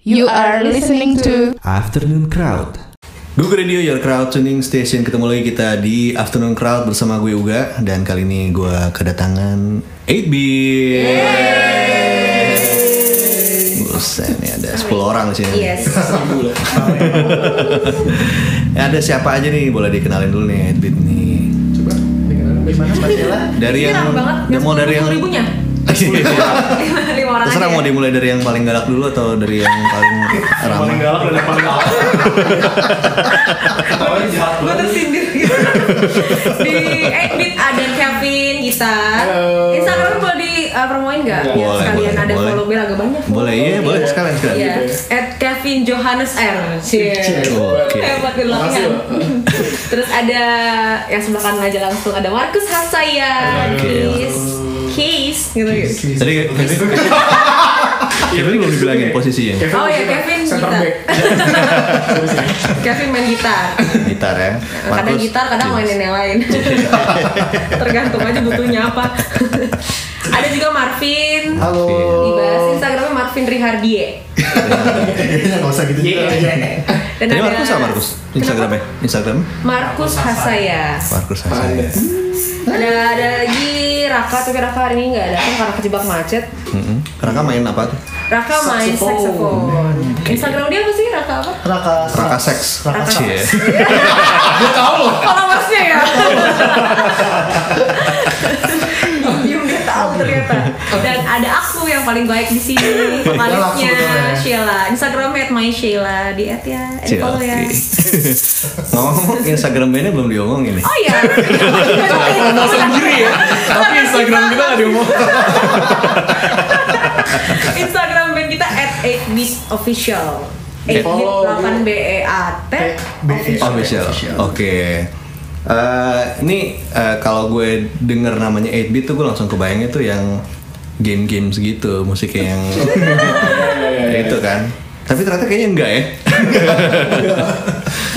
You are listening to Afternoon Crowd. Google Radio Your Crowd Tuning Station ketemu lagi kita di Afternoon Crowd bersama gue Uga dan kali ini gue kedatangan 8B. Buset nih ada 10 orang di sini. Yes. ada siapa aja nih? Boleh dikenalin dulu nih 8B nih. Coba Dari yang Hilang banget. dan mau dari yang Iya, ribunya. Lima orang aja. Terserah ya. mau dimulai dari yang paling galak dulu atau dari yang paling ramah? galak dan paling galak. Gue tersindir gitu. Di 8-bit ada Kevin gitar. Instagram boleh di uh, promoin nggak? Biar Boleh, sekalian boleh, ada boleh. follow biar agak banyak. Boleh, iya, boleh. Sekalian, sekalian. Iya. At Kevin Johannes R. Iya. Cheers. Oke. Hebat gelangnya. Terus ada yang sebelah kanan aja langsung ada Markus Hasaya. Kiss. Kiss gitu. Tadi Kevin, Kevin belum dibilangin posisinya. Oh ya Kevin Center gitar. back. Kevin main gitar. gitar ya. kadang Markus. gitar kadang mainin yang lain tergantung aja butuhnya apa ada juga Marvin Halo. Iya. dibahas Instagramnya Marvin Rihardie Enggak usah gitu juga. iya, dan Tadi ada Markus sama Markus Instagramnya, Instagram Markus Hasaya Markus Hasan. ada ada lagi Raka tapi Raka hari ini nggak datang karena kejebak macet Mm-mm. Raka main apa tuh? Raka main Saxophone. saxophone Instagram dia apa sih Raka apa Raka. Raka seks. Raka Saks. Cie. followersnya ya Yung dia tahu ternyata dan ada aku yang paling baik di sini vokalisnya kebetulan. Sheila Instagramnya at my Sheila di at ya di Cie, follow ya oke. Iya. Ngomong Instagram bandnya belum diomongin nih. oh ya kenal sendiri ya tapi Instagram kita nggak diomong Instagram band kita at 8bit official 8 Follow. 8 b e a t Oh, BE. Official. Oke. Eh, ini eh, kalau gue denger namanya 8-bit tuh gue langsung kebayangnya tuh yang game-game segitu, musik yang Iya, itu kan. Tapi ternyata kayaknya enggak ya.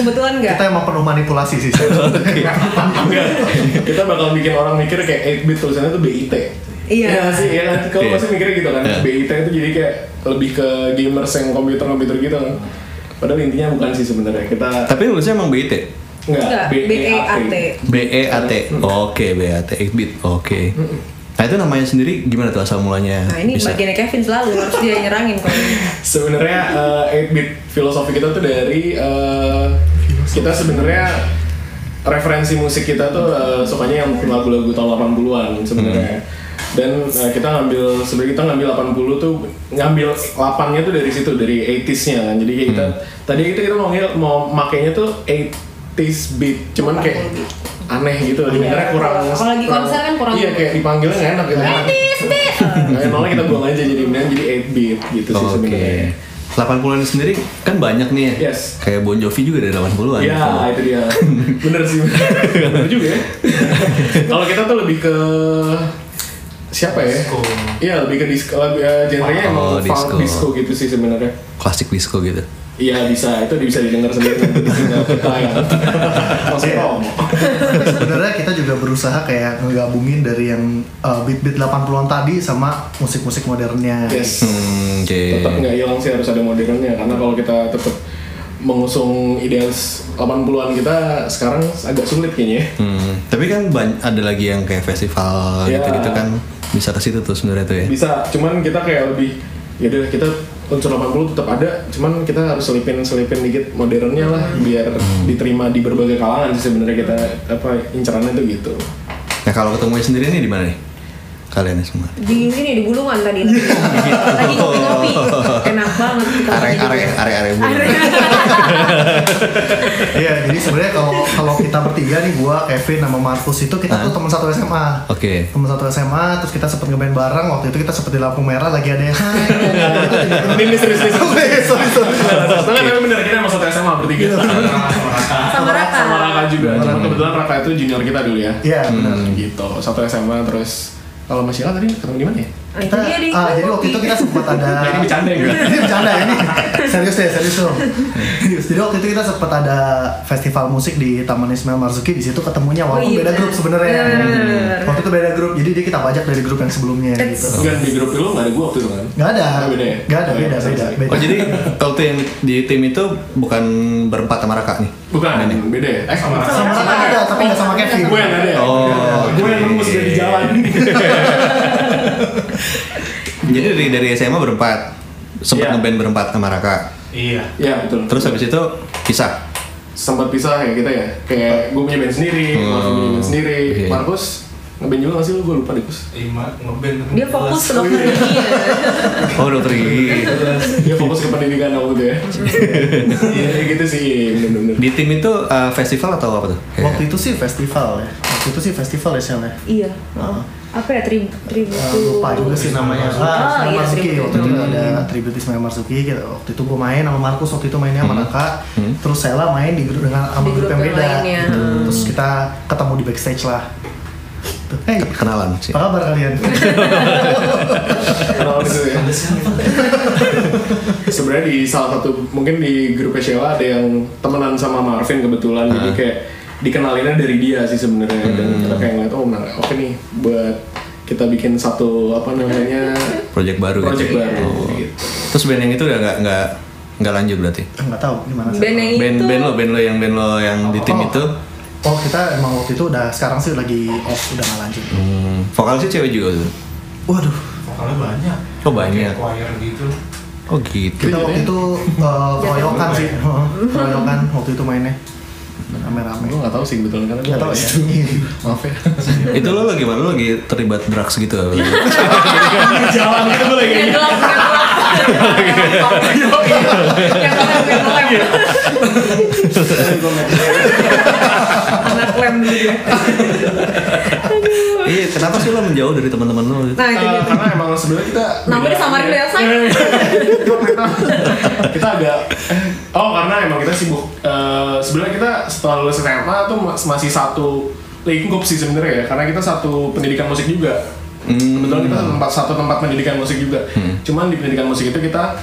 kebetulan nggak Kita emang penuh manipulasi sih. kita bakal bikin orang mikir kayak 8 bit tulisannya tuh BIT. Iya. Iya sih, ya kan? Kalau Iya. pasti mikirnya gitu kan. Iya. BIT itu jadi kayak lebih ke gamers yang komputer-komputer gitu kan. Padahal intinya bukan sih sebenarnya. Kita Tapi nulisnya emang BIT. nggak enggak b e a t B E A T. Oke, B E A T 8 bit. Oke. Nah, itu namanya sendiri gimana tuh asal mulanya? Nah ini bisa? bagiannya Kevin selalu harus dia yang nyerangin kalau ini. Sebenarnya eh, 8 bit filosofi kita tuh dari eh, kita sebenarnya referensi musik kita tuh eh, sukanya yang lagu-lagu tahun 80-an sebenarnya. Dan eh, kita ngambil sebenarnya kita ngambil 80 tuh ngambil 8-nya tuh dari situ dari 80s-nya kan. Jadi kayak kita tadi itu kita mau ngil- mau makainya tuh 80s beat cuman kayak aneh gitu sebenarnya kurang Iya, Apalagi kurang- konser kan kurang- iya kayak dipanggilnya nggak enak gitu Nah, malah kita buang aja jadi mendingan jadi 8 beat gitu sih Oke. sebenarnya 80-an sendiri kan banyak nih ya. Yes. Kayak Bon Jovi juga dari 80-an. Iya, itu dia. Bener sih. Bener juga ya. Kalau kita tuh lebih ke siapa ya? Iya, lebih ke disco lebih eh, genrenya Oh, emang funk disco. disco gitu sih sebenarnya. Klasik disco gitu. Iya bisa, itu bisa didengar sendiri nanti di tinggal kita yang masuk promo. Sebenarnya kita juga berusaha kayak ngegabungin dari yang uh, beat-beat 80-an tadi sama musik-musik modernnya. Yes. Hmm, oke. Tetap nggak hilang sih harus ada modernnya karena kalau kita tetap mengusung idealis 80-an kita sekarang agak sulit kayaknya. ya. Hmm, tapi kan ban- ada lagi yang kayak festival Iya. gitu-gitu kan bisa ke situ tuh sebenarnya Iya. tuh ya. bisa cuman kita kayak lebih ya udah kita unsur 80 tetap ada cuman kita harus selipin selipin dikit modernnya lah biar diterima di berbagai kalangan sih sebenarnya kita apa incarannya tuh gitu Nah, kalau ketemunya sendiri nih di mana nih? Kalian nih semua. Di ini di gulungan tadi lagi. Lagi ngopi-ngopi. Enak banget kita Arek lagi arek juga. arek arek bulan. Arek. Iya, jadi sebenarnya kalau kalau kita bertiga nih gua, Kevin sama Markus itu kita tuh teman satu SMA. Oke. Teman satu SMA, terus kita sempet ngeband bareng. Waktu itu kita sempet di lampu merah lagi ada yang hai. ini ini serius serius Nah, sorry, sorry. Iya. Tapi memang bener kita emang satu SMA bertiga Sama Raka. sama Raka juga cuma kebetulan Raka itu junior kita dulu ya Hmm. Iya, benar. gitu satu SMA terus kalau masih Sheila tadi ketemu di mana ya Nah, itu Kita- dia di ah, jadi waktu itu kita sempat ada Nah, ini bercanda ya? ini bercanda ya, ini serius deh serius dong Serius. jadi waktu itu kita sempat ada festival musik di Taman Ismail Marzuki di situ ketemunya Oh, walaupun iya, beda bener. grup sebenarnya Bener, bener, bener, bener. waktu itu beda grup jadi dia kita pajak dari grup yang sebelumnya gitu Enggak di grup lu nggak ada gua waktu itu kan? nggak ada Oh, beda ya? nggak ada Oh, iya, beda beda sorry. beda Oh jadi kalau tuh yang di tim itu bukan berempat sama Raka nih? Bukan, beda ya. Eh sama sama Raka ada tapi nggak sama Kevin Gue yang ada ya. Oh, gue yang oke. nembus dari jalan. Jadi dari, dari SMA berempat, sempat Iya. ngeband berempat sama Raka. Iya. Iya betul. Terus habis itu pisah. sempat pisah ya kita ya. Kayak gue punya band sendiri, Hmm. Marvin punya band sendiri, Iya. Markus ngeband juga nggak sih lu? Gue lupa deh Kus. Lima ngeband. dia fokus ke dokter gigi ya. Oh dokter gigi. Dia fokus ke pendidikan waktu itu ya. Iya kayak gitu sih, bener-bener. Di tim itu eh, festival atau apa tuh? waktu itu sih festival ya waktu itu sih festival ya Shell ya iya Ah. apa ya tribut tribut Eh, lupa juga sih namanya Ah, ah, Ismail iya, Marzuki tribute. waktu itu ada tribute Ismail Marzuki gitu. waktu itu gue main sama Markus waktu itu mainnya sama Raka terus Sela main di grup dengan sama Di grup grup yang yang beda lainnya. gitu. terus kita ketemu di backstage lah Tuh, hey Kenalan sih. apa kabar kalian Kenal gitu ya. Sebenarnya di salah satu mungkin di grup Shewa ada yang temenan sama Marvin kebetulan, jadi kayak dikenalinnya dari dia sih sebenarnya dan kita kayak ngeliat oh menarik oke nih buat kita bikin satu apa namanya Project baru project gitu. baru Oh. gitu. Terus band yang itu udah nggak nggak nggak lanjut berarti. Eh, nggak tahu gimana sih band yang Band itu band lo band lo yang band lo yang di tim Oh. itu oh kita emang waktu itu udah sekarang sih lagi off udah nggak lanjut hmm, vokal sih cewek juga tuh. waduh Vokalnya banyak. Oh, banyak. Kayak choir gitu. Oh gitu. kita waktu itu eh, keroyokan sih keroyokan waktu itu mainnya rame-rame Gue nggak tahu sih kebetulan karena gue nggak tahu nggak ya ada di situ. Maaf ya. itu lo lagi mana? Lo lagi terlibat drugs gitu? Jalan gitu gue lagi. yang gelap yang gelap yang gelap yang gelap anak lem dulu dia Iya, kenapa sih lo menjauh dari teman-teman lo? nah itu Eh, dia karena emang sebenarnya kita Iya. Namanya disamarin dari outside. kita agak oh karena emang kita sibuk Eh, sebenarnya kita setelah lulus SMA tuh ma- masih satu lingkup sih sebenarnya ya karena kita satu pendidikan musik juga kebetulan kita tempat satu tempat pendidikan musik juga cuman di pendidikan musik itu kita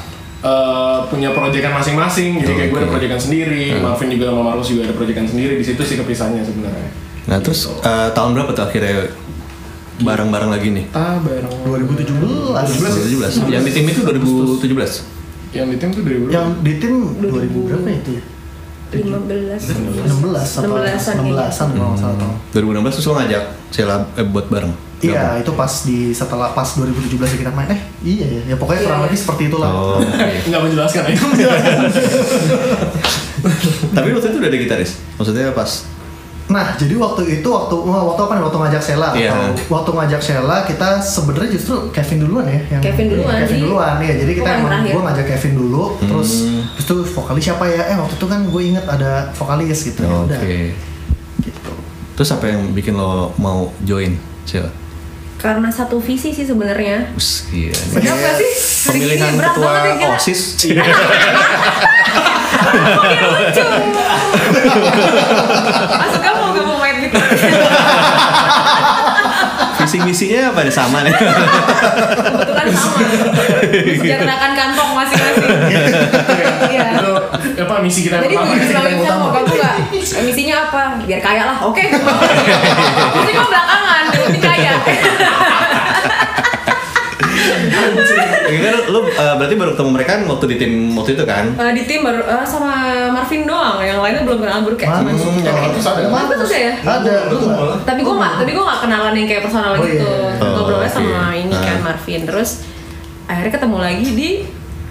eh, punya proyekan masing-masing jadi kayak gue ada proyekan sendiri Marvin juga sama Markus juga ada proyekan sendiri di situ sih kepisahnya sebenarnya Nah terus eh, tahun berapa tuh akhirnya bareng-bareng lagi nih? kita bareng 2017 2017. Yang di tim itu 2017. yang di tim tuh dari yang di tim 2000 berapa itu ya? lima belas 16 apa 16-an 16-an kalau nggak salah Hmm. tau. 2016 terus lo ngajak Sheila eh, buat bareng. Iya, Gabung. itu pas di setelah pas 2017 ya kita main. Eh, iya ya. Ya pokoknya Iya, kurang iya. lebih seperti itulah. Oh. oke. nggak menjelaskan ya Tapi waktu itu udah ada gitaris. Maksudnya pas Nah, jadi waktu itu waktu wah, waktu apa nih? Waktu ngajak Sheila Iya. atau waktu ngajak Sheila kita sebenarnya justru Kevin duluan ya yang Kevin duluan, Kevin jadi- duluan ya. Jadi kita Bukan emang terakhir. gua ngajak Kevin dulu Hmm. terus terus tuh vokalis siapa ya? Eh, waktu itu kan gue inget ada vokalis gitu. Ya Oke. udah. Gitu. Terus apa yang bikin lo mau join Sheila? karena satu visi sih sebenarnya Us, gila. nih. Sedap gak sih? Hari ini Pemilihan berat ketua banget ya, gila. OSIS. Iya. Oke, lucu. Masuk kamu gak mau main gitu? Visi misinya pada sama nih. Kebetulan sama. Sejahterakan kantong masing-masing. Iya. itu apa misi kita yang Jadi pertama tujuh sama yang kita mau utama. kamu gak? Misinya apa? Biar kaya lah. Oke. aku mau. Misi kamu belakangan, lebih kaya. Ya kan lo uh, berarti baru ketemu mereka kan waktu di tim waktu itu kan? Eh, di tim baru eh, sama Marvin doang, yang lainnya belum kenal baru kayak. Hmm. Mana Suki? Yang itu ada. Marvin tuh ya? Ada. Betul. betul. tapi gue nggak tapi gue nggak kenalan yang kayak personal Oh, gitu iya. ngobrolnya Oh, sama oke. ini kan Ah. Marvin terus akhirnya ketemu lagi di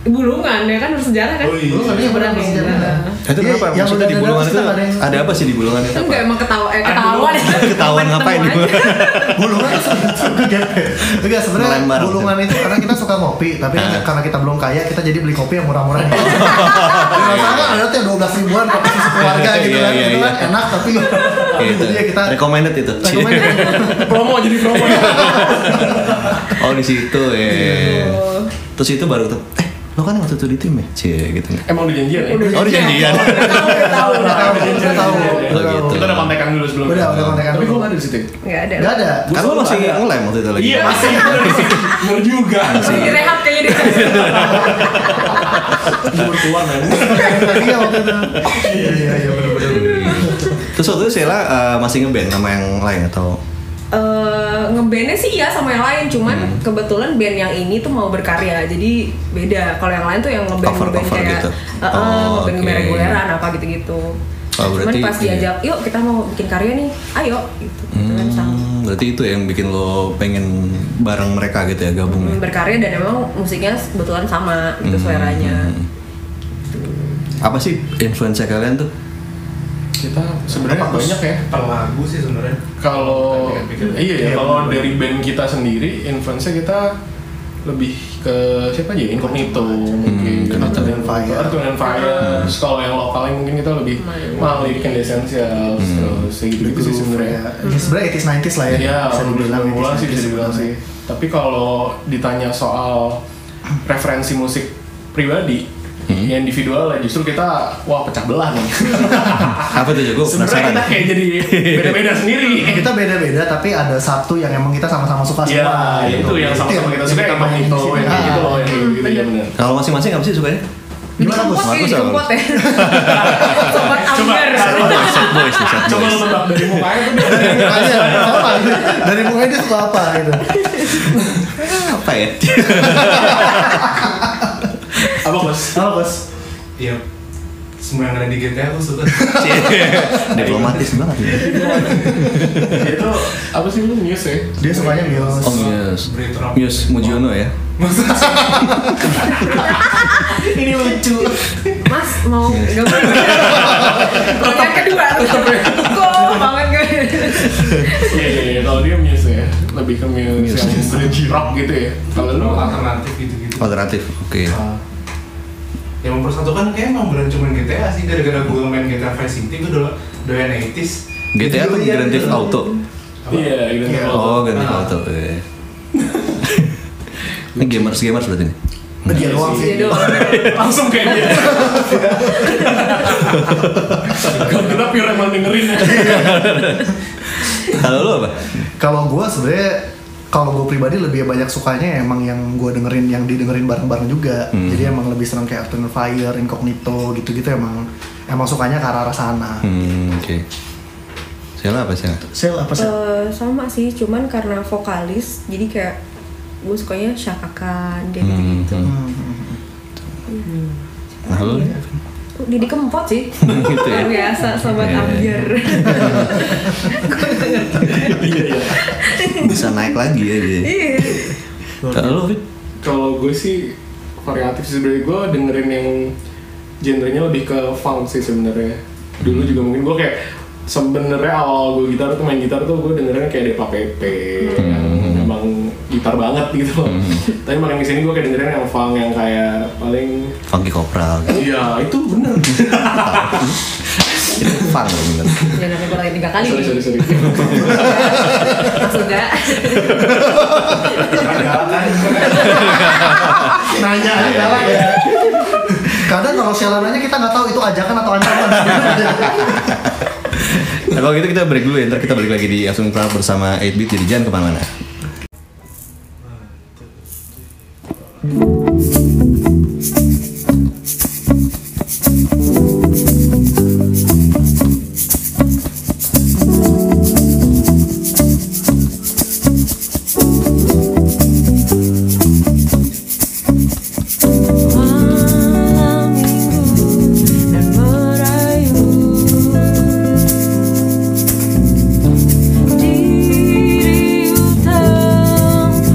Bulungan ya kan bersejarah kan Oh, iya. Bulungan, iya, benar, bersejarah. Itu Iya, kenapa? yang Maksudnya udah di bulungan ada, itu ada yang- ada apa sih di bulungan itu? Nah. itu apa? nggak emang ketawa eh, ketahuan Ketahuan ngapain di Pertemuan. bulungan? Bulungan itu suka gede. Enggak sebenarnya Melembar. bulungan itu karena kita suka ngopi, tapi kan Ah. karena kita belum kaya kita jadi beli kopi yang murah-murah. ya, Di masalah ada tuh yang 12 ribuan kopi susu keluarga gitu Iya, kan. iya, Itu kan iya. enak tapi Kayak gitu. jadi Iya, ya kita recommended itu. recommended. promo jadi promo iya, Iya. oh di situ ya. Terus itu baru tuh. Eh, lo kan waktu itu di tim ya cie gitu Iya, Emang udah janjian ya? oh udah janjian Udah tahu, udah tahu, udah tahu. Oh, gitu. Kita udah kontekan dulu sebelum Udah, udah kontekan Tapi dulu. gue nggak ada di situ Nggak ada. Gak ada. kan lo masih ngelem waktu itu lagi Iya masih Bener juga Masih direhab kayaknya dia. Umur tua men Tadi ya waktu itu. Iya, iya, iya, bener-bener. terus waktu itu Sheila eh, masih ngeband sama yang lain atau Eh, ngebandnya sih ya sama yang lain, cuman Hmm. kebetulan band yang ini tuh mau berkarya, jadi beda. Kalau yang lain tuh yang ngeband Cover- ngeband cover kayak gitu. eh, eh, Oh, ngeband ngeband oke. reguleran apa gitu-gitu. Oh, cuman berarti pas iya. diajak, yuk kita mau bikin karya nih, ayo gitu. Gitu kan sama. hmm, berarti itu yang bikin lo pengen bareng mereka gitu ya gabung ya berkarya dan emang musiknya kebetulan sama gitu Hmm. suaranya. apa sih influence kalian tuh Kita sebenarnya Apa, Gus? banyak ya per lagu Eh, sih sebenarnya Kalau Pikir-pikir. iya ya, Iya, kalau bener. dari band kita sendiri, influence kita lebih ke siapa aja? ya? Incognito mungkin, Incognito. Earth and Fire, Earth, Wind and Fire. Terus kalau yang lokalnya mungkin kita lebih Malik. Malik and The Essentials, terus gitu gitu sih sebenarnya. Ini sebenarnya 80s 90s lah ya. Iya, bisa belum dibilang mulai sih 80s, bisa dibilang ya. sih. Tapi kalau ditanya soal referensi musik pribadi, Hmm. yang individual lah justru kita wah pecah belah nih. apa tuh jago Sebenarnya penasaran kita kayak jadi beda-beda sendiri. Kita beda-beda tapi ada satu yang emang kita sama-sama suka Iya, semua. gitu. Iya. itu yang sama-sama Iya, kita suka yang yang main mainin itu, di sini. yang kayak gitu loh, yang kayak gitu ya benar. kalau masing-masing apa sih sukanya Gimana, Bos? Dijemput sih, Bagus, dijemput ya. Sobat Coba, Amber. sad boys nih sad Coba boys lu tebak dari mukanya tuh dia- Makanya, Iya, apa? Dari mukanya dia suka apa gitu. apa ya apa bos? Halo, Bos. Iya semua yang ada di GTA aku suka diplomatis banget ya Dia tuh apa sih lu news ya? Dia sukanya Muse. oh Muse Berita- Muse Mujiono ya Ini lucu. Mas mau gambar Pertanyaan kedua. ya. Kok banget gue. Iya iya iya, kalau dia news ya, lebih ke news yang grunge rock gitu ya. Kalau lu Kalau alternatif gitu-gitu alternatif oke Ah. yang mempersatukan kayak emang beneran cuma GTA sih gara-gara gue main GTA Vice City gue dulu doyan 80s GTA tuh Iya, Grand Theft iya. Auto Apa? iya gitu. Iya. oh Grand Theft Ah. Auto iya. ini gamers gamers berarti nih Dia doang sih. Iya doang. Langsung kayak dia. Kalau kita pure emang dengerin ya. kalau lu apa Kalau gue sebenarnya kalau gue pribadi lebih banyak sukanya emang yang gue dengerin yang didengerin bareng-bareng juga. Hmm. Jadi emang lebih seneng kayak Earth, Wind and Fire, Incognito gitu-gitu emang emang sukanya ke arah sana. hmm oke Sheila apa sih Sel apa sih? Eh, sama sih, cuman karena vokalis, jadi kayak gue sukanya syakakan kayak hmm. gitu. hmm. nah lu nih? Didi kempot sih, Gitu ya? luar biasa sobat Iya, iya. ambiar. bisa naik lagi ya jadi Iya. kalau lu Fit? Kalau gue sih variatif sih sebenarnya gue dengerin yang genrenya lebih ke funk sih sebenarnya. Dulu juga mungkin gue kayak sebenarnya awal gue gitar tuh main gitar tuh gue dengerin kayak Depa Pepe yang Hmm. emang gitar banget gitu loh. Tapi makin kesini gue kayak dengerin yang funk yang kayak paling Funky Kopral gitu. Iya itu bener. Jadi fun loh bener Jangan sampai gue Ya, lagi tiga kali. sorry sorry sorry. Langsung gak. Iya, kan? Nanya aja galak ya. Kadang kalau Sel nanya kita nggak tahu itu ajakan atau ancaman. Nah, kalau gitu kita break dulu ya, ntar kita balik lagi di Asung Cloud bersama 8-Bit, jadi jangan kemana-mana. Malam minggu dan merayu diri utara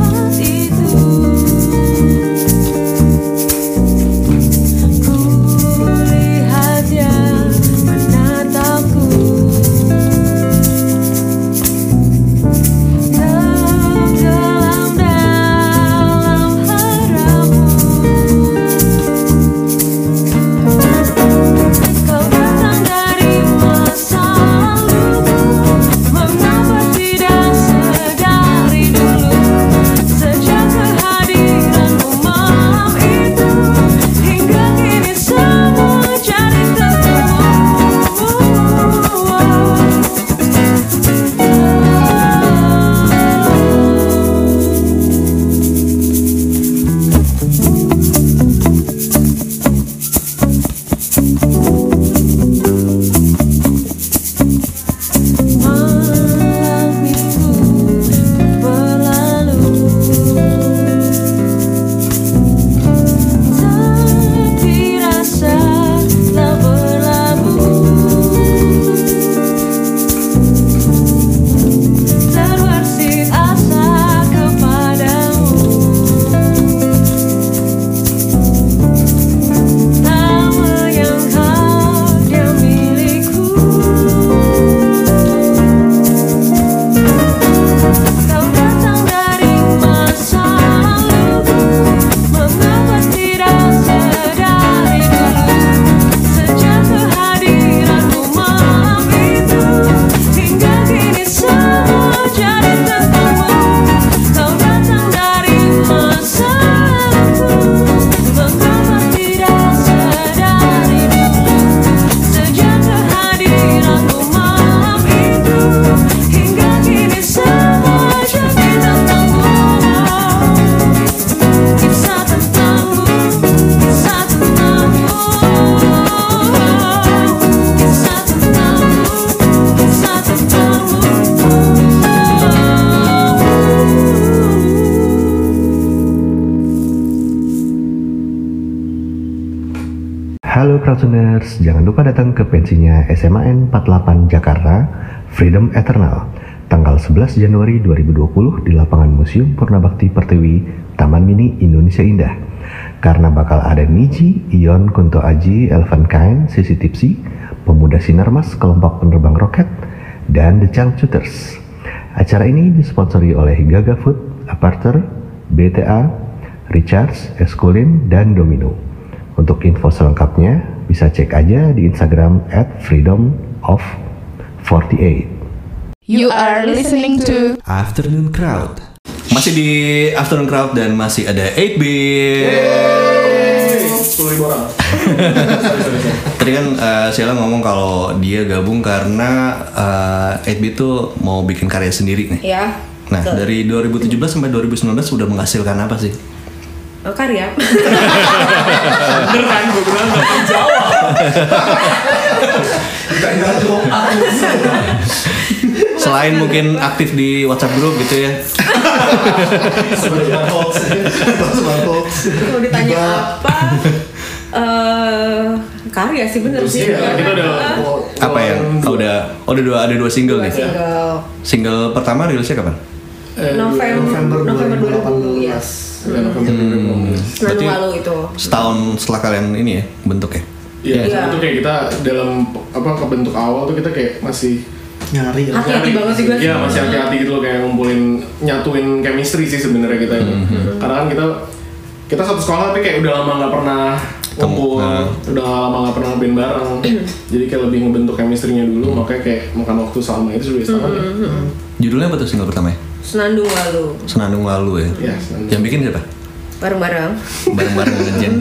Halo Crowdtuners, jangan lupa datang ke pensinya SMAN 48 Jakarta, Freedom Eternal, tanggal 11 Januari 2020 di lapangan Museum Purnabakti Pertiwi, Taman Mini Indonesia Indah. Karena bakal ada Niji, Ion, Kunto Aji, Elvan Kain, Sisi Tipsi, Pemuda Sinarmas, Kelompok Penerbang Roket, dan The Chang Shooters. Acara ini disponsori oleh Gaga Food, Aparter, BTA, Richards, Eskulin, dan Domino. Untuk info selengkapnya bisa cek aja di Instagram at freedom of 48. You are listening to Afternoon Crowd. Masih di Afternoon Crowd dan masih ada 8-Bit. Sepuluh ribu orang. Tadi kan eh, Sheila ngomong kalau dia gabung karena eh, 8-Bit tuh mau bikin karya sendiri nih. ya Nah, dari 2017 sampai 2019 sudah menghasilkan apa sih? Oh, karya Bener kan? Gue bilang gak tahu jawab. Selain mungkin aktif di WhatsApp group gitu ya. Sebagai hoax, sebagai hoax. kalau ditanya Juga. apa eh karya sih bener sih Iya, kita udah. Apa yang oh, udah oh, ada dua ada dua single Dua Iya. nih. single Single pertama rilisnya kapan? Eh, November November 2000 ya 2018. Hmm. lalu Berarti- lalu itu Setahun setelah kalian ini ya bentuknya. Iya, Iya. itu kayak kita dalam apa kebentuk awal tuh kita kayak masih Nyari ya. hati-hati banget sih gue Iya masih hati-hati gitu loh kayak ngumpulin nyatuin chemistry sih sebenarnya kita ini. Hmm, Karena kan kita kita satu sekolah tapi kayak udah lama nggak pernah Temu- ngumpul, nah. udah lama nggak pernah band bareng. Jadi kayak lebih ngebentuk chemistry-nya dulu, makanya kayak makan waktu selama itu sudah setahun Hmm, ya. Judulnya apa tuh single pertamanya? senandung lalu Senandung Lalu ya. Iya, Senandung. Yang bikin siapa? bareng-bareng Bareng-bareng ngejen.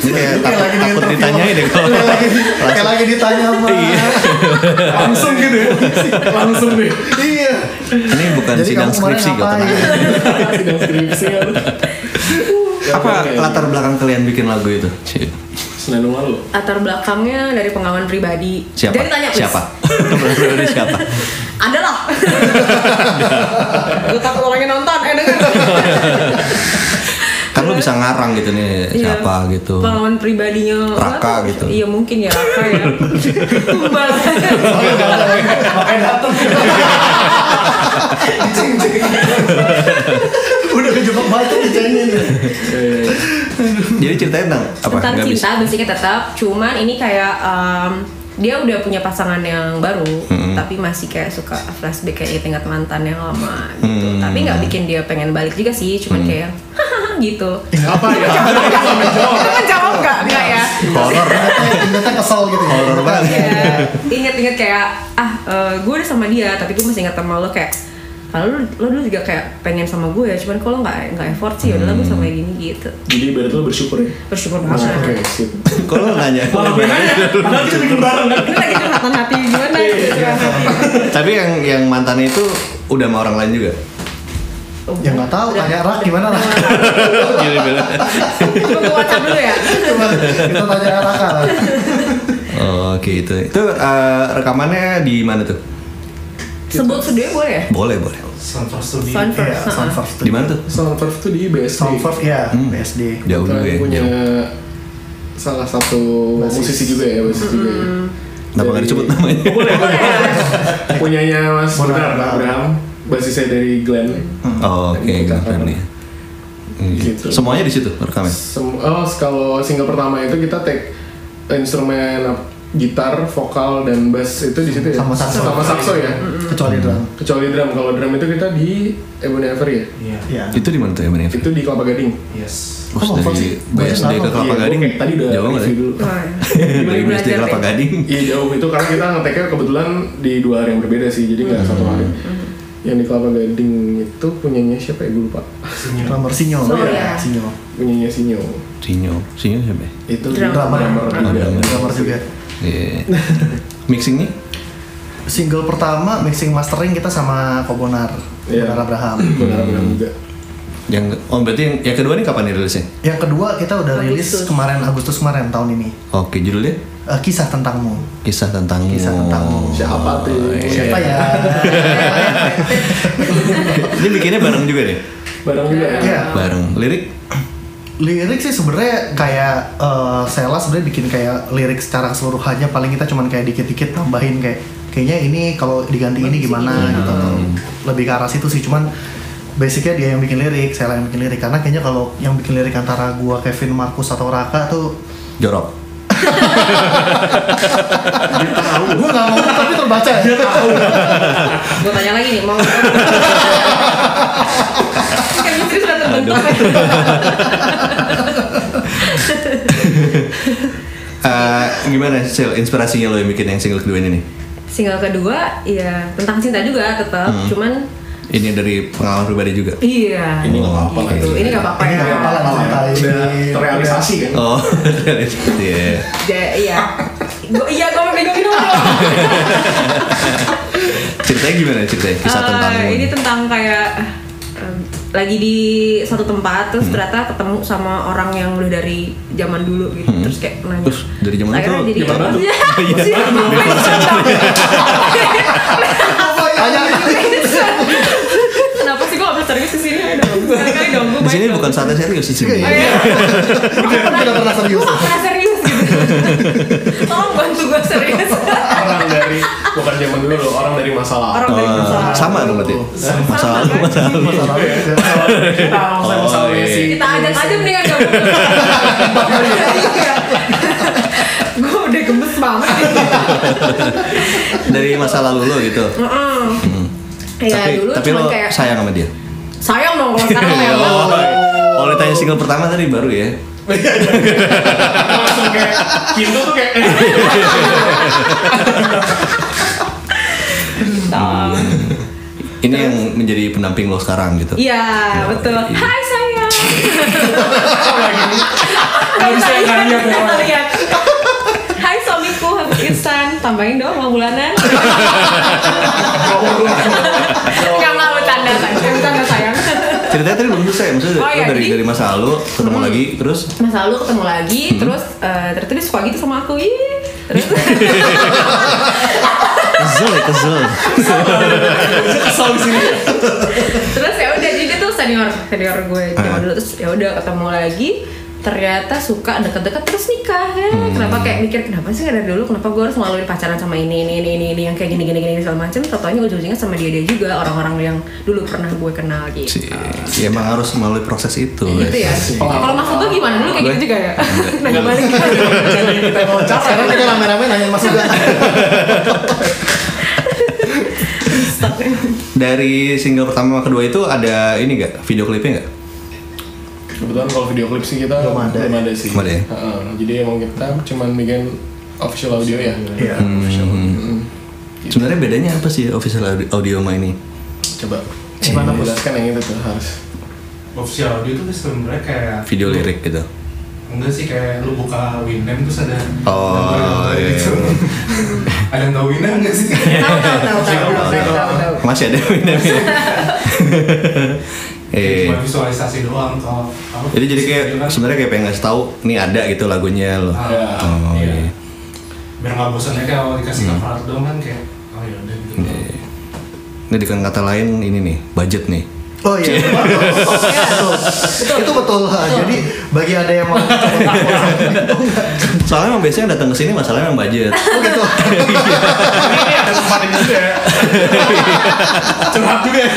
Ini kayak Kayak takut, lagi di takut interview. ditanyain deh kalau Iya. Kayak lagi, kayak lagi ditanya sama Langsung gitu ya. Langsung deh. Iya. ini bukan Jadi sidang kamu kemarin skripsi kalau ngapain? tenang. Sidang skripsi kan. Apa Oke. latar belakang kalian bikin lagu itu? Senandung lalu. latar belakangnya dari pengalaman pribadi Siapa? jadi tanya please. siapa? Berarti siapa? ada lah gue takut orangnya nonton eh denger Kan lu bisa ngarang gitu nih Iya. siapa gitu. pengalaman pribadinya Raka Nggak tahu. gitu. iya mungkin ya Raka ya tumbal Makanya dateng. Dicing-cing. Udah kejebak batu dicengin. Jadi ceritanya tentang apa? tentang Nggak cinta basicnya tetap cuman ini kayak em, dia udah punya pasangan yang baru tapi masih kayak suka flashback kayak ingat mantan yang lama gitu tapi nggak bikin dia pengen balik juga sih cuman kayak "Hahaha," gitu Apa ya? Jangan jawab nggak nggak ya Horor. Ternyata kesel gitu. Horor banget. Iya. Kayak inget-inget Iya. kayak ah gue udah sama dia tapi gue masih ingat sama lo kayak kalau lo, lo dulu juga kayak pengen sama gue ya cuman kalau nggak nggak effort sih udah Mm. gue sama gini gitu Jadi ibarat lu bersyukur ya. bersyukur banget Oke, sip. Kalau lu nanya. Padahal kita bikin bareng kan. ini lagi curhatan hati gimana Curhatan hati. Tapi yang yang mantannya itu udah sama orang lain juga. Oh, Ya nggak tahu. Tanya Rak gimana lah. Gini bilang. Tunggu WhatsApp dulu ya. Kita tanya Raka lah. Oh, Oke itu. Itu eh, rekamannya di mana tuh? Sebut studio boleh ya? Boleh boleh. Sanford Studio. Sound Iya, first. Sound ha-ha. First. Di mana tuh? Soundproof tuh di BSD. Sound First, ya. Hmm. PSD. Jauh Kita dulu ya. punya jauh. salah satu musisi juga ya, musisi juga. ya. Kenapa nggak Dari- disebut namanya? Boleh, boleh. Punyanya Mas Bonar Bonar Abraham. Abraham, basisnya dari Glenn. Oh, Oke, Dari nggak Jakarta. friendly. Hmm. Gitu. Semuanya di situ rekamnya. Sem- oh, kalau single pertama itu kita take instrumen apa, gitar, vokal dan bass itu di situ ya. Sama saxo. Sama saxo ya. Kecuali drum. Kecuali drum. Kalau drum itu kita di Ebony Ivory ya. Iya. Iya. Itu di mana tuh ya, Bang Evi? Itu di Kelapa Gading. Yes. Terus Kok dari sih? BSD Barusan ke apa? Kelapa Iya, gua Gading? kayak Tadi udah Jauh nggak review ya? dulu. Wah. Dari BSD ke Kelapa Gading? Iya jauh itu karena kita ngeteknya kebetulan di dua hari yang berbeda sih, jadi nggak satu hari. Yang di Kelapa Gading itu punyanya siapa ya? Gue lupa. Drummer sinyal. So, Iya, ya. Sinyal. Punyanya Sinyo. Sinyo. Sinyo siapa ya? Itu Drummer. drummer. Drummer. juga. Drummer juga. Iya. Mixingnya? Single pertama mixing mastering kita sama Kobonar. Iya. Kobonar Abraham. Benar benar juga. Yang oh berarti yang, yang kedua ini kapan nih rilisnya? Yang kedua kita udah rilis Agustus. kemarin Agustus kemarin tahun ini. Oke, judulnya Eh, kisah tentangmu. Kisah tentang Kisah Oh, tentangmu. Siapa tuh? Siapa ya? Ini bikinnya bareng juga deh. Barang juga ya. Oh. Iya. Bareng. Lirik lirik sih sebenarnya kayak eh, Sela sebenarnya bikin kayak lirik secara keseluruhannya paling kita cuman kayak dikit-dikit tambahin kayak kayaknya ini kalau diganti ini gimana gitu atau lebih ke arah situ sih cuman basicnya dia yang bikin lirik Sela yang bikin lirik karena kayaknya kalau yang bikin lirik antara gua Kevin Markus atau Raka tuh jorok gua nggak mau tapi terbaca ya Gue tanya lagi nih mau. Chemistry sudah terbentuk. Eh, gimana Sil inspirasinya lo yang bikin yang single kedua ini nih Single kedua ya tentang cinta juga tetap, cuman ini dari pengalaman pribadi juga iya. Ini nggak apa-apa lah. gitu. Ini nggak apa-apa Ini ya. nggak apa-apa lah. Udah terrealisasi kan. oh iya Ja- iya. Gua, iya, gue mau pegang minum dong. ceritanya gimana ceritanya kisah Eh, tentang lo ini tentang kayak eh, lagi di satu tempat terus Hmm. ternyata ketemu sama orang yang udah dari zaman dulu gitu terus kayak nanya Hmm. Terus dari zaman Akhirnya itu, jadi zaman apa dulu. sih? Iya. Tanya ya? kenapa sih gue gak pernah serius kesini Ayo dong sekali dong gue di sini bukan saatnya serius di sini Iya. tidak pernah gue serius gak pernah serius gitu tolong bantu gue serius Orang dari bukan zaman dulu loh, orang dari masa lalu. orang dari masa Eh, lalu. sama dong berarti masa lalu kan? masa lalu Oh, Masalah iya. juga. Kita langsung Oh, sama iya. Messi. kita ajak aja mendingan kamu gue udah gemes banget dari masa lalu lo gitu Mm-mm. kan? Iya, tapi dulu tapi cuman lo kayak sayang sama dia sayang dong kalau sekarang ya. Oh, kalau ditanya single pertama tadi baru ya Langsung kayak pintu tuh kayak ini yang menjadi pendamping lo sekarang gitu Iya, betul. iya. Hai sayang. Nggak bisa Hai, sayang. nanya, Bella. Kita lihat. Hai suamiku, habis insan. Tambahin dong uang bulanan. Enggak mau bercanda, sayang. Bercanda, sayang. ceritanya tadi belum selesai maksudnya Oh, lo iya, dari jadi- Hmm. dari masa lalu ketemu lagi terus Masa lalu ketemu lagi, Hmm. terus eh, ternyata dia suka gitu sama aku. Ih. Terus kesel ya kesel terus ya udah jadi dia tuh senior senior gue zaman dulu terus ya udah ketemu lagi ternyata suka deket-deket terus nikah ya kenapa kayak mikir kenapa sih dari dulu kenapa gue harus maluin pacaran sama ini ini ini ini, ini yang kayak gini gini gini segala macam totalnya ujung-ujungnya sama dia dia juga orang-orang yang dulu pernah gue kenal gitu Cih, ya emang harus melalui proses itu gitu ya kalau maksud gue gimana dulu kayak Gue- gitu juga ya nanya balik Iya. Sekarang Iya. kita rame-rame nanya Mas Uga. dari single pertama sama kedua itu ada ini gak video klipnya gak Kebetulan kalau video klip sih kita Belum ada. sih. Belum ada ya? Heeh, jadi emang kita cuman bikin official audio ya. Iya. Hmm. sebenarnya bedanya apa sih official audio, audio sama ini Coba gimana jelaskan yang itu tuh harus. official audio tuh sebenarnya kayak video Hmm. lirik gitu enggak sih kayak lu buka Winamp terus ada Oh, ada- iya, iya. ada yang tahu Winamp nggak sih tahu tahu Iya. tahu tahu tahu tahu tahu masih ada Winamp ya eh cuma visualisasi doang kalau kalau- jadi jadi kayak Gitu kan. sebenarnya kayak pengen ngasih tahu nih ada gitu lagunya loh Ah, Ya. oh iya. iya Hmm. biar nggak bosannya kayak kalau dikasih cover art doang kan kayak oh ya udah gitu Iya, ini dengan kata lain ini nih budget nih Oh iya, betul. itu betul. Ha. Jadi bagi ada yang mau soalnya emang biasanya yang datang ke sini masalahnya emang budget Oh, gitu. ya. Curhat juga ya.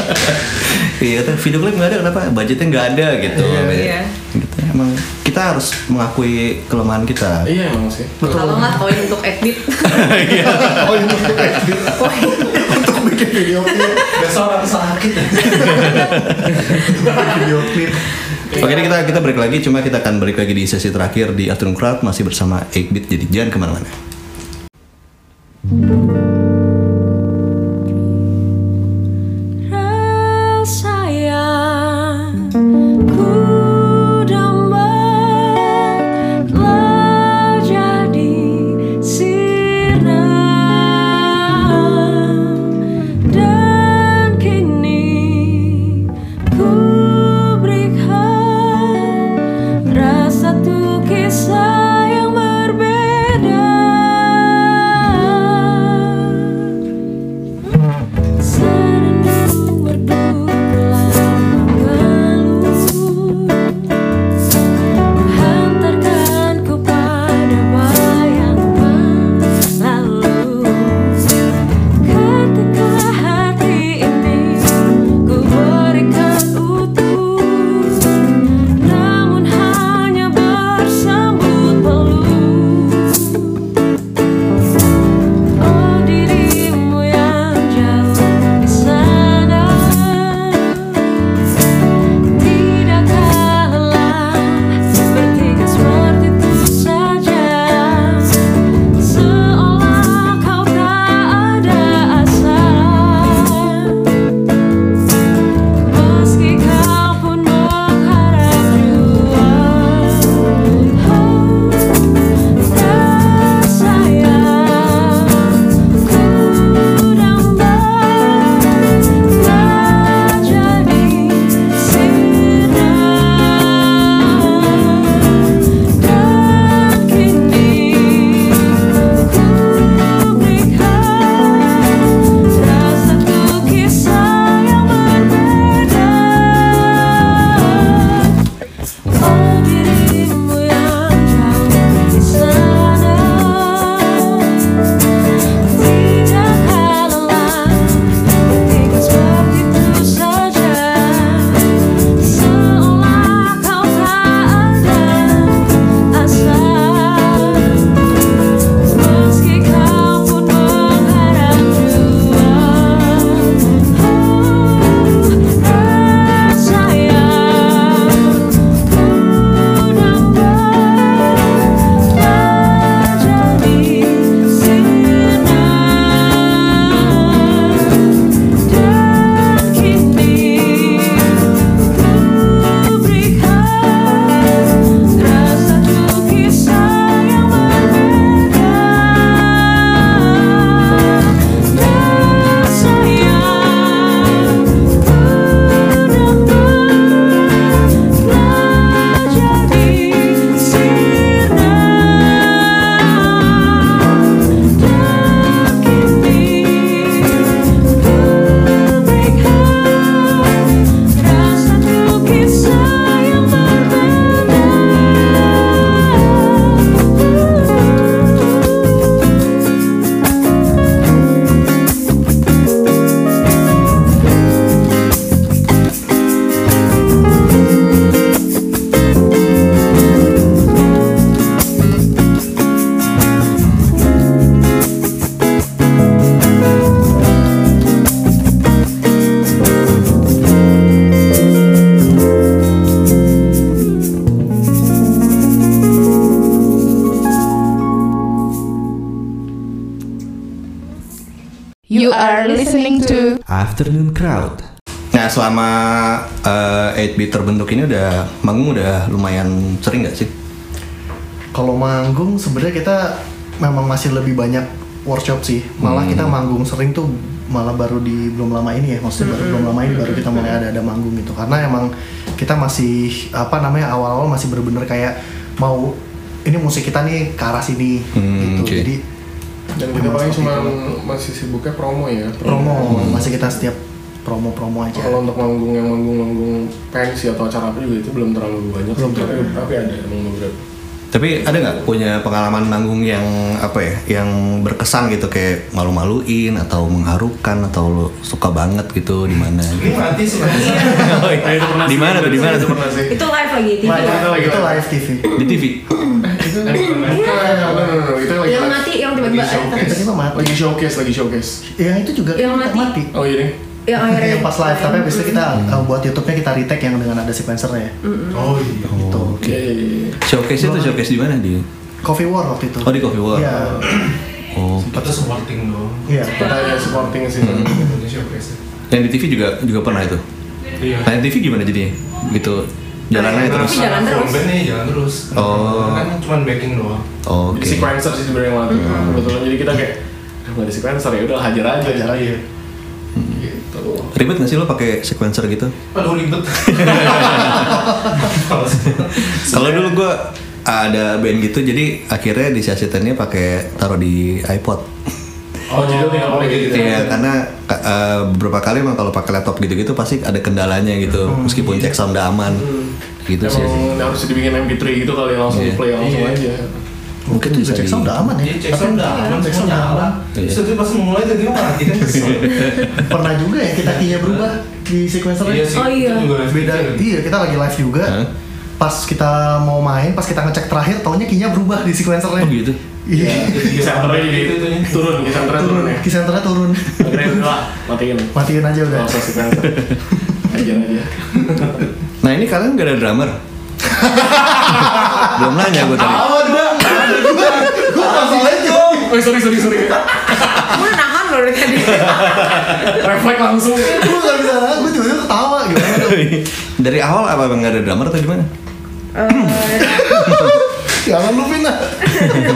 iya kata video klip nggak ada kenapa budgetnya nggak ada gitu Iya. Gitu, emang kita harus mengakui kelemahan kita Iya emang sih. tolonglah poin untuk edit Oh, ini untuk edit. untuk bikin video klip. besok orang sakit ya Bikin video klip. Oke, ini kita kita break lagi, cuma kita akan balik lagi di sesi terakhir di Afternoon Crowd masih bersama 8-Bit, jadi jangan kemana-mana. Rasanya ku dambalah jadi siram dan kini ku berikan rasa tu kisah yang berbeda. Oh, Oh, Oh, You are listening to Afternoon Crowd. Nah selama eh, 8 bit terbentuk ini udah manggung udah lumayan sering nggak sih? Kalau manggung sebenarnya kita memang masih lebih banyak workshop sih. Malah kita manggung sering tuh malah baru di belum lama ini ya, maksudnya baru belum lama ini baru kita mulai ada ada manggung gitu. Karena emang kita masih apa namanya awal-awal masih bener-bener kayak mau ini musik kita nih ke arah sini Hmm, gitu. oke. Jadi Dan kita memang paling seperti cuma itu. masih sibuknya promo ya. promo masih kita setiap promo-promo aja. Kalau untuk manggung yang manggung-manggung pensi atau acara apa juga itu belum terlalu banyak. Belum tapi, tapi ada emang beberapa. Tapi ada nggak punya pengalaman manggung yang apa ya, yang berkesan gitu kayak malu-maluin atau mengharukan atau lo suka banget gitu di mana? Ini mati sebenarnya. Oh, Nah, iya. Di mana tuh? Di mana Itu tuh? pernah sih. Itu live lagi TV. Live, ya? live. Itu live TV. Di TV. Itu Tadi pernah. itu lagi Yang mati yang Lagi tiba-tiba showcase. Tiba-tiba mati. lagi showcase, lagi showcase. Ya itu juga Yang kita mati. Oh iya deh. yang akhirnya yang pas live tapi abis itu kita uh, buat YouTube-nya kita retake yang dengan ada sequencernya Oh iya. gitu. Iya iya iya. Showcase itu showcase di mana di? Coffee War waktu itu. Oh di Coffee War. Iya. Oh. Itu supporting dong. Iya. Kita ada supporting sih. Hmm. Indonesia showcase. Yang di TV juga juga pernah itu. Iya. Nah, yang TV gimana jadinya? Gitu jalannya Karena terus. Tapi jalan terus. frontman nih jalan terus. Oh. Kan cuma backing doang. Oke. Jadi sequencer sih sebenarnya yang latih. Kebetulan jadi kita kayak "Duh, nggak ada sequencer ya udah hajar aja. Hajar aja. Gitu. Ribet nggak sih lo pakai sequencer gitu? Aduh ribet. Kalau dulu gua ada band gitu, jadi akhirnya di sasitannya pakai taruh di iPod. Oh, jadi udah apa gitu. Iya, karena ka- eh, beberapa kali emang kalau pakai laptop gitu-gitu pasti ada kendalanya gitu, Oh, meskipun iya. cek sound udah aman. Hmm. Gitu sih. Emang harus dibikin MP3 gitu kali langsung Iya. di play langsung Iya. aja. Mungkin Itu bisa cek di- sound udah aman ya. Jadi Iya, cek sound udah aman, cek sound udah aman. Iya. Terus itu pas mulai tadi dia mati kan kesel. Pernah juga ya kita key-nya berubah di sequencernya. sih. Oh, iya. itu juga live Beda. video. Iya, kita lagi live juga. Hah? Pas kita mau main, pas kita ngecek terakhir, taunya key-nya berubah di sequencernya. Oh gitu. Iya. Jadi Senternya jadi itu Iya, tuh. turun, senternya turun turun, ya. key centernya turun. Akhirnya udah lah, matiin. Matiin aja udah. Nggak usah sequencer. Hajar aja. Nah ini kalian gak ada drummer? Belum nanya gue tadi. Awan bang, gue masalahnya dong. Oh sorry sorry sorry. gue nahan loh dari tadi. Refleks langsung. Gue gak bisa nahan, gue tiba-tiba ketawa gitu. gimana tuh. Dari awal apa emang gak ada drummer atau gimana? Jangan lupin ah? lah. Itu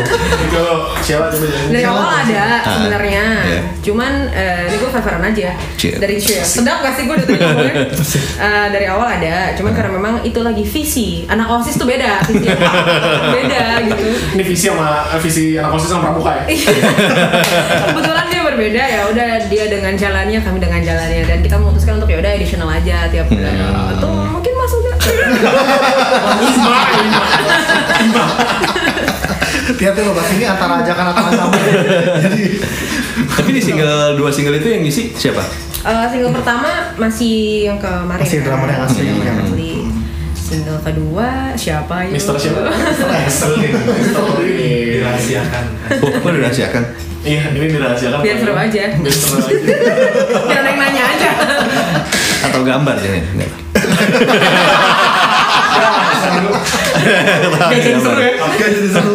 Gitu. siapa coba ya? jadi. Dari awal Silakan. ada Ah, sebenarnya. iya. Cuman eh, ini gue favoran aja Cheers. dari cheers. Sedap gak sih gue udah tadi ngomongnya? Eh, dari awal ada. Cuman Ah. karena memang itu lagi visi. Anak osis tuh beda. Visi beda gitu. Ini visi sama eh, visi anak osis sama pramuka ya. Kebetulan dia berbeda ya. Udah dia dengan jalannya, kami dengan jalannya. Dan kita memutuskan untuk ya udah additional aja tiap bulan. Hmm. Atau mungkin masuk gak? Oh, Hati-hati loh, bahas ini antara ajakan atau ancaman. Jadi, Tapi di single dua single itu yang ngisi siapa? Eh, single pertama masih yang kemarin. Masih drama yang asli, Hmm. Yang yang- asli. Single kedua siapa? yuk? Mister siapa? Keselin, dirahasiakan. Oh, gue udah rahasiakan. Iya, ini dirahasiakan. Biar seru aja. Biar seru aja. Biar ada yang nanya aja. Atau gambar jadi. Enggak. Gak jadi seru ya. Oke jadi seru.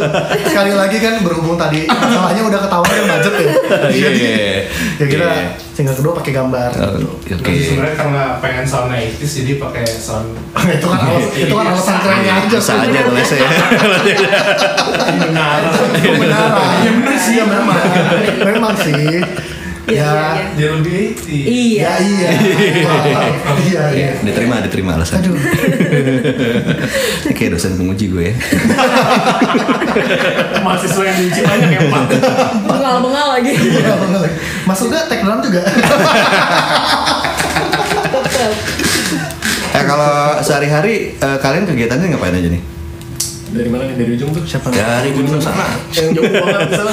Sekali lagi kan berhubung tadi masalahnya udah ketahuan yang budget ya. Iya, iya, iya. Ya kita Iya. single kedua pakai gambar. Oke. Tapi sebenarnya karena pengen sound 80s jadi pakai sound itu kan alas, itu kan alasan kerennya aja. Bisa aja lesnya ya. benar. Benar. Iya benar sih Iya, memang. Memang sih. Iya, Ya. Dia lebih 80s. Iya. Ya iya. Wow. Iya iya. Diterima, diterima alasan. Aduh. Kayak dosen penguji gue ya. Mahasiswa yang diuji banyak ya, Pak. Bengal-bengal lagi. Iya, bener. Masuk gak tag dalam juga? Eh kalau sehari-hari eh, kalian kegiatannya ngapain aja nih? Dari mana nih? Dari ujung tuh? Siapa? Dari gunung sana. Yang jauh banget di sana.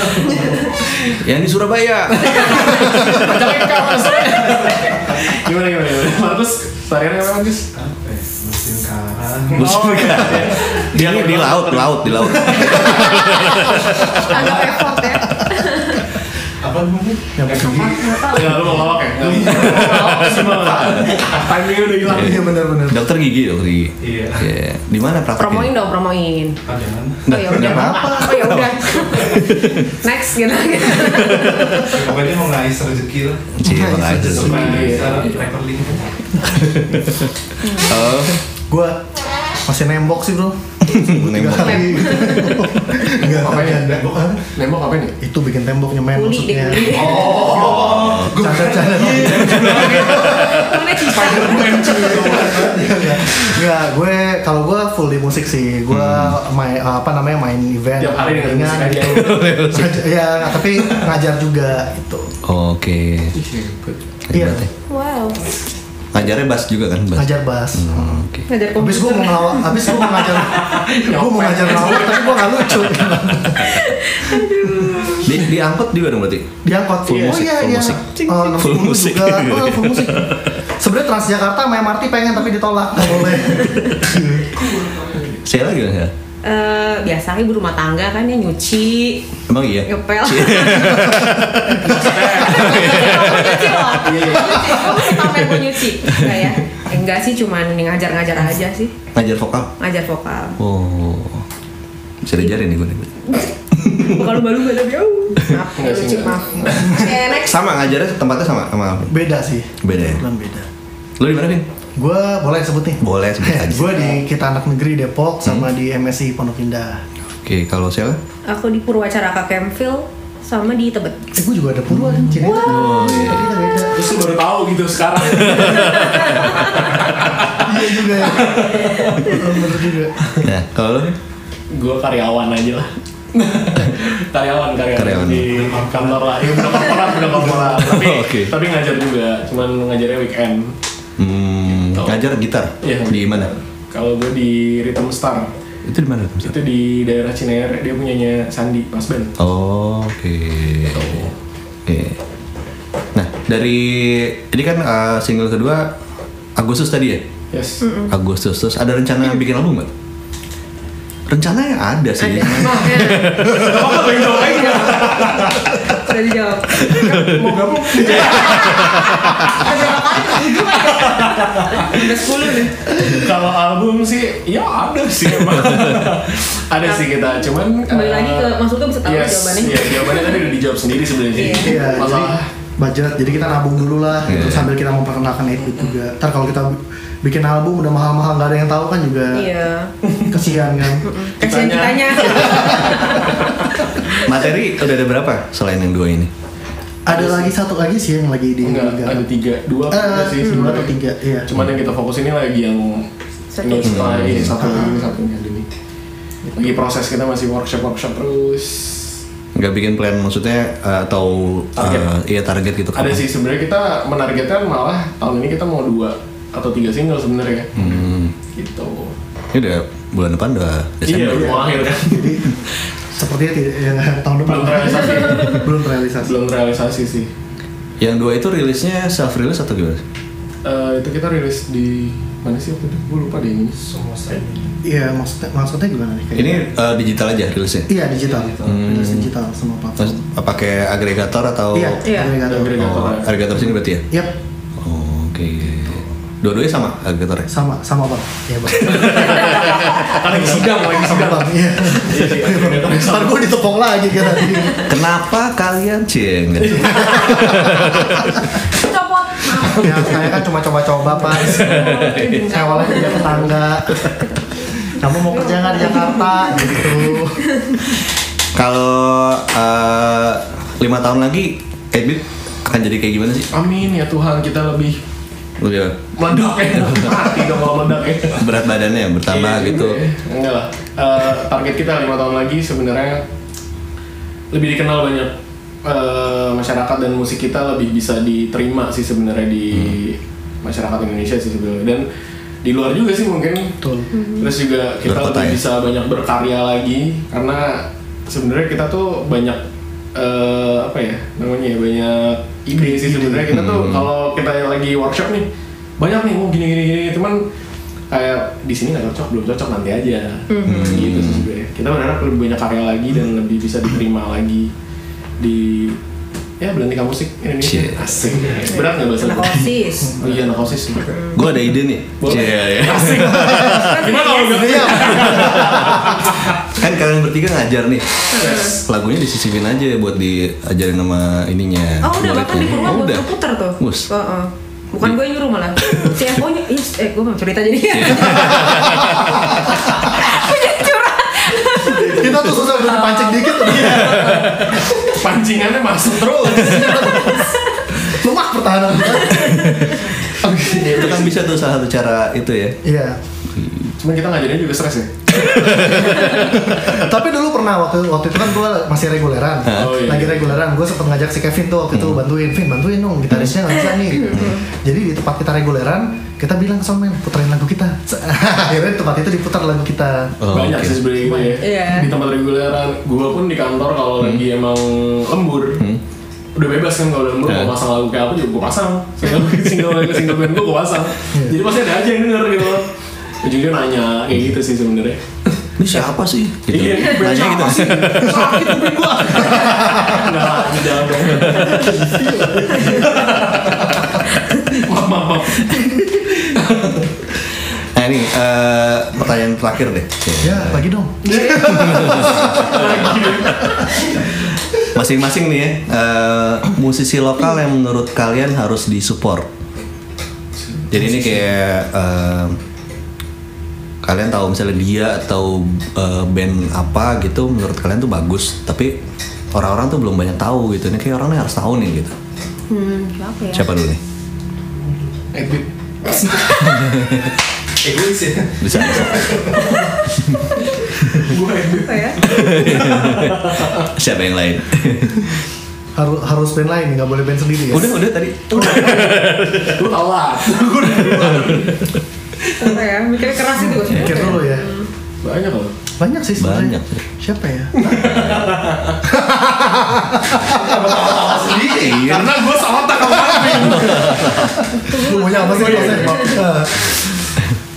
Yang di Surabaya. Pacarnya ke kamar saya. Gimana gimana gimana? Markus, tariannya apa Markus? Apa ya? Musim karang. Busuk ya? Di, di laut, laut, di laut. Agak effort ya. Apa namanya? Yang Enggak, lu mau lawak ya? Nggak, lu mau lawak sih, Bang. Timingnya udah hilang. Iya benar benar. Dokter gigi, dokter gigi. Iya. Iya. Di mana prakteknya? Promoin dong, promoin. Ada mana? Oh ya udah. Apa? Oh ya udah. next gitu Pokoknya mau ngais rezeki lah. Cie, aja Supaya bisa record link. Oh, Gue masih nembok sih bro. Tiga Iya. nembok. kali. Enggak, Apa ya? tapi- Nembok? Hah? Nembok apa nih? Itu bikin temboknya men Kuli deh, maksudnya. kuli. Oh, gue Canda-canda. Iya. Mana cicak? Enggak, Iya, gue kalau gue full di musik sih. Gue Hmm. main apa namanya main event. Tiap hari dengerin ringan musik aja. gitu. Ya, tapi ngajar juga itu. Oke. Iya, Hebat ya. Wow. Ngajarnya bass juga kan, bass. ngajar bass. Oh, Oke. Ngajar Habis gue mau ngelawak, habis gue mau ngajar, Ya gue mau ngajar ngelawak, tapi gue gak lucu. Di, diangkut juga dong berarti. Diangkut Full musik, full musik. Oh, nomor Full sepuluh musik. juga. Oh, full musik. Sebenarnya Transjakarta sama MRT pengen tapi ditolak, nggak boleh. Saya lagi ya. Eh, biasa ibu rumah tangga kan ya nyuci Emang iya. ngepel iya. nyuci loh Iya, kamu masih pamer mau nyuci enggak ya Eh, enggak sih cuman ngajar-ngajar aja sih Ngajar vokal. ngajar vokal Oh. Bisa diajarin nih gue. nih. vokal baru gak tapi oh maaf Enggak sih, lucu enggak. maaf Eh, next Sama ngajarnya tempatnya sama sama Alvin. Beda sih. Beda ya? Kebetulan beda. Lu di mana, Vin? Gue boleh sebut nih. Boleh, Hmm. sebut aja. gue di Kita Anak Negeri Depok sama di MSI Pondok Indah. Oke, kalau saya aku di Purwacaraka Kemfil sama di Tebet Eh, gue juga ada Purwa kan, Cina. Oh, iya. Kita beda. Terus lu baru tahu gitu sekarang. Iya juga ya. Bener juga. Nah, kalau lu Vin? gue karyawan aja lah. karyawan, karyawan Karyawan. di kantor lah. Ya, udah korporat, udah korporat. Tapi, Oke. tapi ngajar juga, cuman ngajarnya weekend. Hmm, Gitu. ngajar gitar. Iya. Di mana? Kalau gue di Rhythm Star, Itu di mana? Ustaz? itu di daerah Cinere, dia punyanya Sandi, Mas Ben. Oh, Oke. Oke. Nah, dari ini kan uh, single kedua Agustus tadi ya? Yes. Agustus terus ada rencana bikin album nggak? Rencananya ada sih. ada cuman- Mau, ya. sudah dijawab Mau gabung? ada apa udah 10 nih Kalau album sih, ya ada sih emang. ada sih kita, cuman eh, Kembali lagi ke- maksudnya bisa tahu yes, jawabannya. Iya, jawabannya tadi udah dijawab sendiri sebenarnya. sih. Iya. Iya, jadi Masalah budget. Jadi kita nabung dulu lah, gitu, Iya. sambil kita memperkenalkan itu juga. Ntar kalau kita bikin album udah mahal-mahal nggak ada yang tahu kan juga iya kesian kan. kasihan Kitanya. kitanya Materi udah ada berapa selain yang dua ini? ada lagi satu lagi sih yang lagi di Enggak, ada tiga, dua apa enggak sih Eh, dua sebenarnya. atau tiga, iya. Cuman yang kita fokus ini lagi yang Satu. ini setelah Hmm. ini satu ini satu ini ada ini. Gitu. Lagi proses kita masih workshop workshop terus. Nggak bikin plan maksudnya uh, atau uh, Target. iya target gitu Ada sih sebenarnya kita menargetkan malah tahun ini kita mau dua atau tiga single sebenarnya. Hmm, Gitu. ini udah bulan depan udah Iya, Desember. ya? udah mau akhir kan. Jadi sepertinya tidak ya, tahun depan Belum realisasi. belum realisasi. Belum realisasi sih. Yang dua itu rilisnya self release atau gimana? Eh, itu kita rilis di mana sih waktu itu? Gue lupa deh ini. Semua Iya maksudnya maksudnya gimana nih? kayak- Ini uh, digital aja rilisnya. iya digital, Hmm. rilis digital semua Mas, platform. apa pakai agregator atau Iya, Iya. agregator. Oh, agregator sini berarti ya? Yap, Oh, Oke. Dua-duanya sama agregatornya. sama sama bang. Iya bang. Kan lagi sidang, lagi Sama sidang. bang. Iya. Ntar gue ditepok lagi kan nanti. Kenapa kalian ceng? copot Maaf. Ya saya kan cuma coba-coba pak. Saya awalnya kerja tetangga. Kamu mau kerja nggak di Jakarta? Gitu. Kalau eh, lima tahun lagi, Edit akan jadi kayak gimana sih? Amin ya Tuhan kita lebih Lu ya, meledak ya. Mati dong kalau meledak ya. berat badannya yang bertambah Iya, gitu. iya. Enggak lah. Eh, target kita lima tahun lagi sebenarnya lebih dikenal banyak eh, masyarakat dan musik kita lebih bisa diterima sih sebenarnya di Hmm. masyarakat Indonesia sih sebenarnya dan di luar juga sih mungkin. Betul. Terus juga kita Luar kota lebih ya? bisa banyak berkarya lagi karena sebenarnya kita tuh banyak eh, apa ya namanya ya banyak ide sih sebenarnya kita tuh Hmm. kalau kita lagi workshop nih banyak nih oh gini gini gini cuman kayak di sini nggak cocok belum cocok nanti aja gitu sih sebenarnya kita berharap lebih banyak karya lagi dan lebih bisa diterima lagi di ya belantika musik Indonesia Cie. asik berat nggak bahasa Anak gue? osis. Mhm. oh iya anak osis sih Gue ada ide nih. Boleh. Cie, ya. gimana kalau nggak Kan kalian bertiga ngajar nih. Lagunya disisipin aja buat diajarin sama ininya. Oh udah bahkan di muridnya. Purwa gue Udah. puter tuh. Bus. Oh, oh. Bukan gue nyuruh malah. Si FO nya, ih, eh gue mau cerita jadi. Aku jadi curhat. Kita tuh susah udah dipancing dikit tuh. pancingannya masuk terus Lemah pertahanan kita. Ya, itu kan bisa tuh salah satu cara itu ya. Iya. cuman kita ngajarinnya juga stres ya Tapi dulu pernah waktu waktu itu kan gue masih reguleran. Ah, Oh, iya. Lagi reguleran, gue sempet ngajak si Kevin tuh waktu itu Hmm. bantuin, Vin bantuin dong gitarisnya nggak bisa nih. Hmm. Jadi di tempat kita reguleran, kita bilang ke somen puterin lagu kita. Akhirnya di tempat itu diputar lagu kita. Oh, banyak oke. sih sebenarnya gitu ya Iya. di tempat reguleran gue pun di kantor kalau lagi emang lembur udah bebas kan kalau udah lembur Iya. mau pasang lagu kayak apa juga gue pasang single single single band gue gue pasang jadi pasti ada aja yang denger gitu loh ujungnya nanya kayak gitu sih sebenarnya Ini siapa sih? Gitu. Iya, ini Nanya siapa gitu. sakit kuping gue nggak ini jangan dong maaf maaf maaf Nah ini eh, pertanyaan terakhir deh. Cie. Ya, lagi dong. Masing-masing nih ya, eh, musisi lokal yang menurut kalian harus disupport. Jadi ini kayak eh, kalian tahu misalnya dia atau eh, band apa gitu menurut kalian tuh bagus, tapi orang-orang tuh belum banyak tahu gitu. Ini kayak orangnya harus tahu nih gitu. Hmm, apa ya? Siapa dulu nih? Edit egois ya Bisa. bisa. Apa ya? Siapa yang lain? Harus harus band lain, nggak boleh band sendiri ya. udah, udah tadi. lu tau lah Apa ya? Mikirnya keras itu. Mikir dulu ya. banyak loh Banyak sih sebenarnya. Hmm. Banyak. Siapa ya? Sendiri. karena gue salah tak Lu punya apa sih?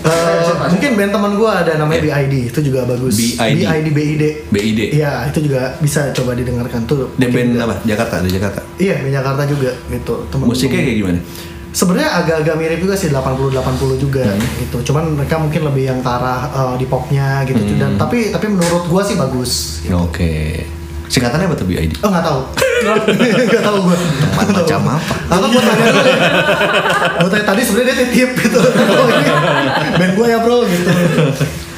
Eh, eh, mungkin band teman gue ada namanya Iya. BID itu juga bagus. BID. BID BID. BID. Iya, itu juga bisa coba didengarkan tuh. Dia band apa? Jakarta, di Jakarta. Iya, di Jakarta juga gitu. Temen Musiknya kayak gimana? Sebenarnya agak-agak mirip juga sih 80-80 juga Hmm. gitu. Cuman mereka mungkin lebih yang ke arah eh, di popnya gitu. Hmm. Dan tapi tapi menurut gua sih bagus. Oke. Singkatannya apa tuh BID? Oh nggak tahu. nggak tahu gua. Tempat macam apa? Atau gua tanya dulu ya. Gua tanya tadi sebenarnya dia titip gitu. Oh, ini band gua ya bro gitu.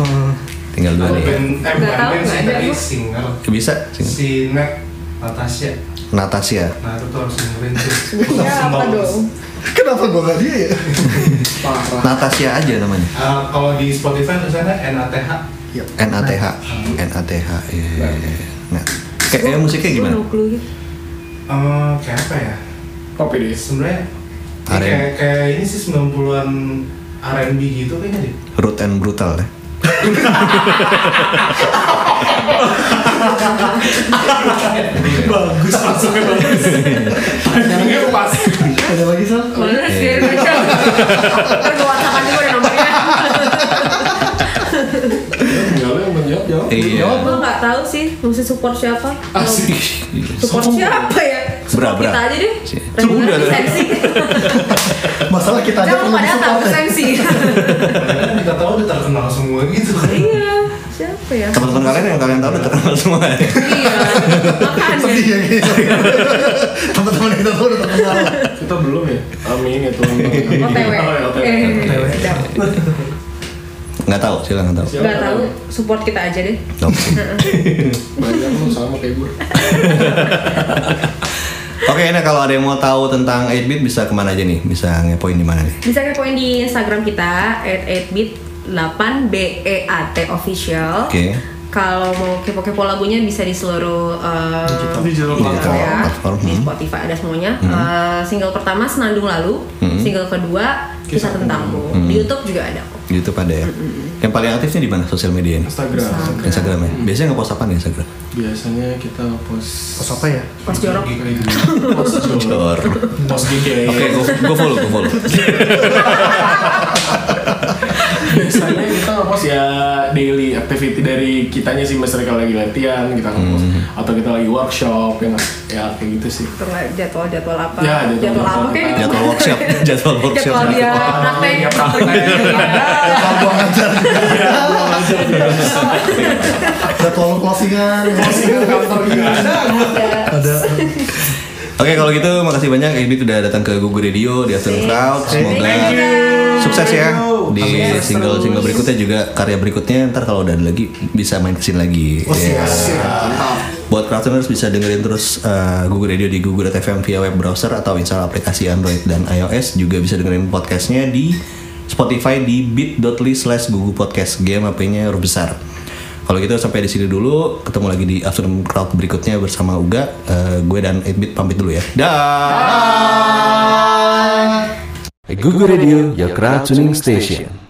Hmm. Tinggal dua nih. ya. band eh Nggak bukan tahu, band nggak sih ada tapi gua. singer Bisa. sing- si Nek Natasha Natasha. nah itu tuh harus dengerin tuh Ya, apa dong? Kenapa gua nggak dia ya? Natasha aja namanya. Eh, kalau di Spotify tulisannya NATH NATH. NATH. Iya. iya, iya. Nah, kayaknya musiknya gimana? Lu no clue gitu. Eh, kayak apa ya kopi deh sebenarnya ini R&B. kayak kayak ini sih 90-an R&B gitu kayaknya deh Rude and brutal ya. bagus masuknya bagus timingnya pas Ada lagi sal? Mana sih? Ntar gue whatsappan dulu deh nomornya. nggak lo yang menjawab jawab Iya. Gue nggak tahu sih mesti support siapa. Ah, asik Support siapa ya? Support Bra, bra. kita aja deh. Si- Regular Sudah. sensi. Masalah kita aja Jangan perlu pada support. tahu sensi. Padahal kan kita tahu udah terkenal semua gitu Iya. Siapa ya? Teman-teman kalian yang kalian tahu udah terkenal semua. ya. Iya. Sedih Makanya. Iya. ya gitu. Teman-teman kita tuh udah terkenal. kita belum ya amin ya tuhan Oh, ya, OTW. Oh, iya, Eh, OTW. Sedap. Nggak tahu, silakan nggak tahu. Siapa Gak tahu, support kita aja deh. Oke. banyak lu sama kayak gue Oke, nah kalau ada yang mau tahu tentang 8-bit bisa kemana aja nih? Bisa ngepoin di mana nih? Bisa kepoin di Instagram kita @8bit8beat E official. Oke. Kalau mau kepo-kepo lagunya bisa di seluruh uh, Digital platform. ya, Iya, Platform, di hmm. Spotify ada semuanya. Uh, single pertama Senandung Lalu, single kedua Kisah Tentangmu. Di YouTube juga ada. kok. YouTube ada ya. Yang paling aktifnya di mana? Sosial media ini? Instagram Instagram ya. Biasanya ngepost apa nih Instagram? biasanya kita post Terus apa ya? Pas jorok. gitu. post jodoh Cor. post gigi Oke, gue follow, gue follow. biasanya kita ngepost ya daily activity dari kitanya sih misalnya kalau lagi latihan kita ngepost atau kita lagi workshop ya nggak? ya kayak gitu sih Atau nggak jadwal-jadwal apa? Ya, jadwal- apa kayak gitu. Jadwal workshop, jadwal workshop. Jadwal dia praktek. dia praktek. Iya. Jadwal closingan, closingan kantor juga ada. Ada. Oke kalau gitu makasih banyak Edit udah datang ke Google Radio di Afternoon Crowd. Semoga sukses ya di single single berikutnya juga karya berikutnya ntar kalau udah ada lagi bisa main kesini lagi. Ya. Buat crowdtuners bisa dengerin terus uh, Google Radio di Google FM via web browser atau install aplikasi Android dan iOS juga bisa dengerin podcastnya di Spotify di bit.ly slash Google Podcast Game HP-nya huruf besar. Kalau gitu sampai di sini dulu, ketemu lagi di Afternoon Crowd berikutnya bersama Uga, Eh, gue dan 8bit pamit dulu ya. Dah. Google Radio, your crowd tuning station.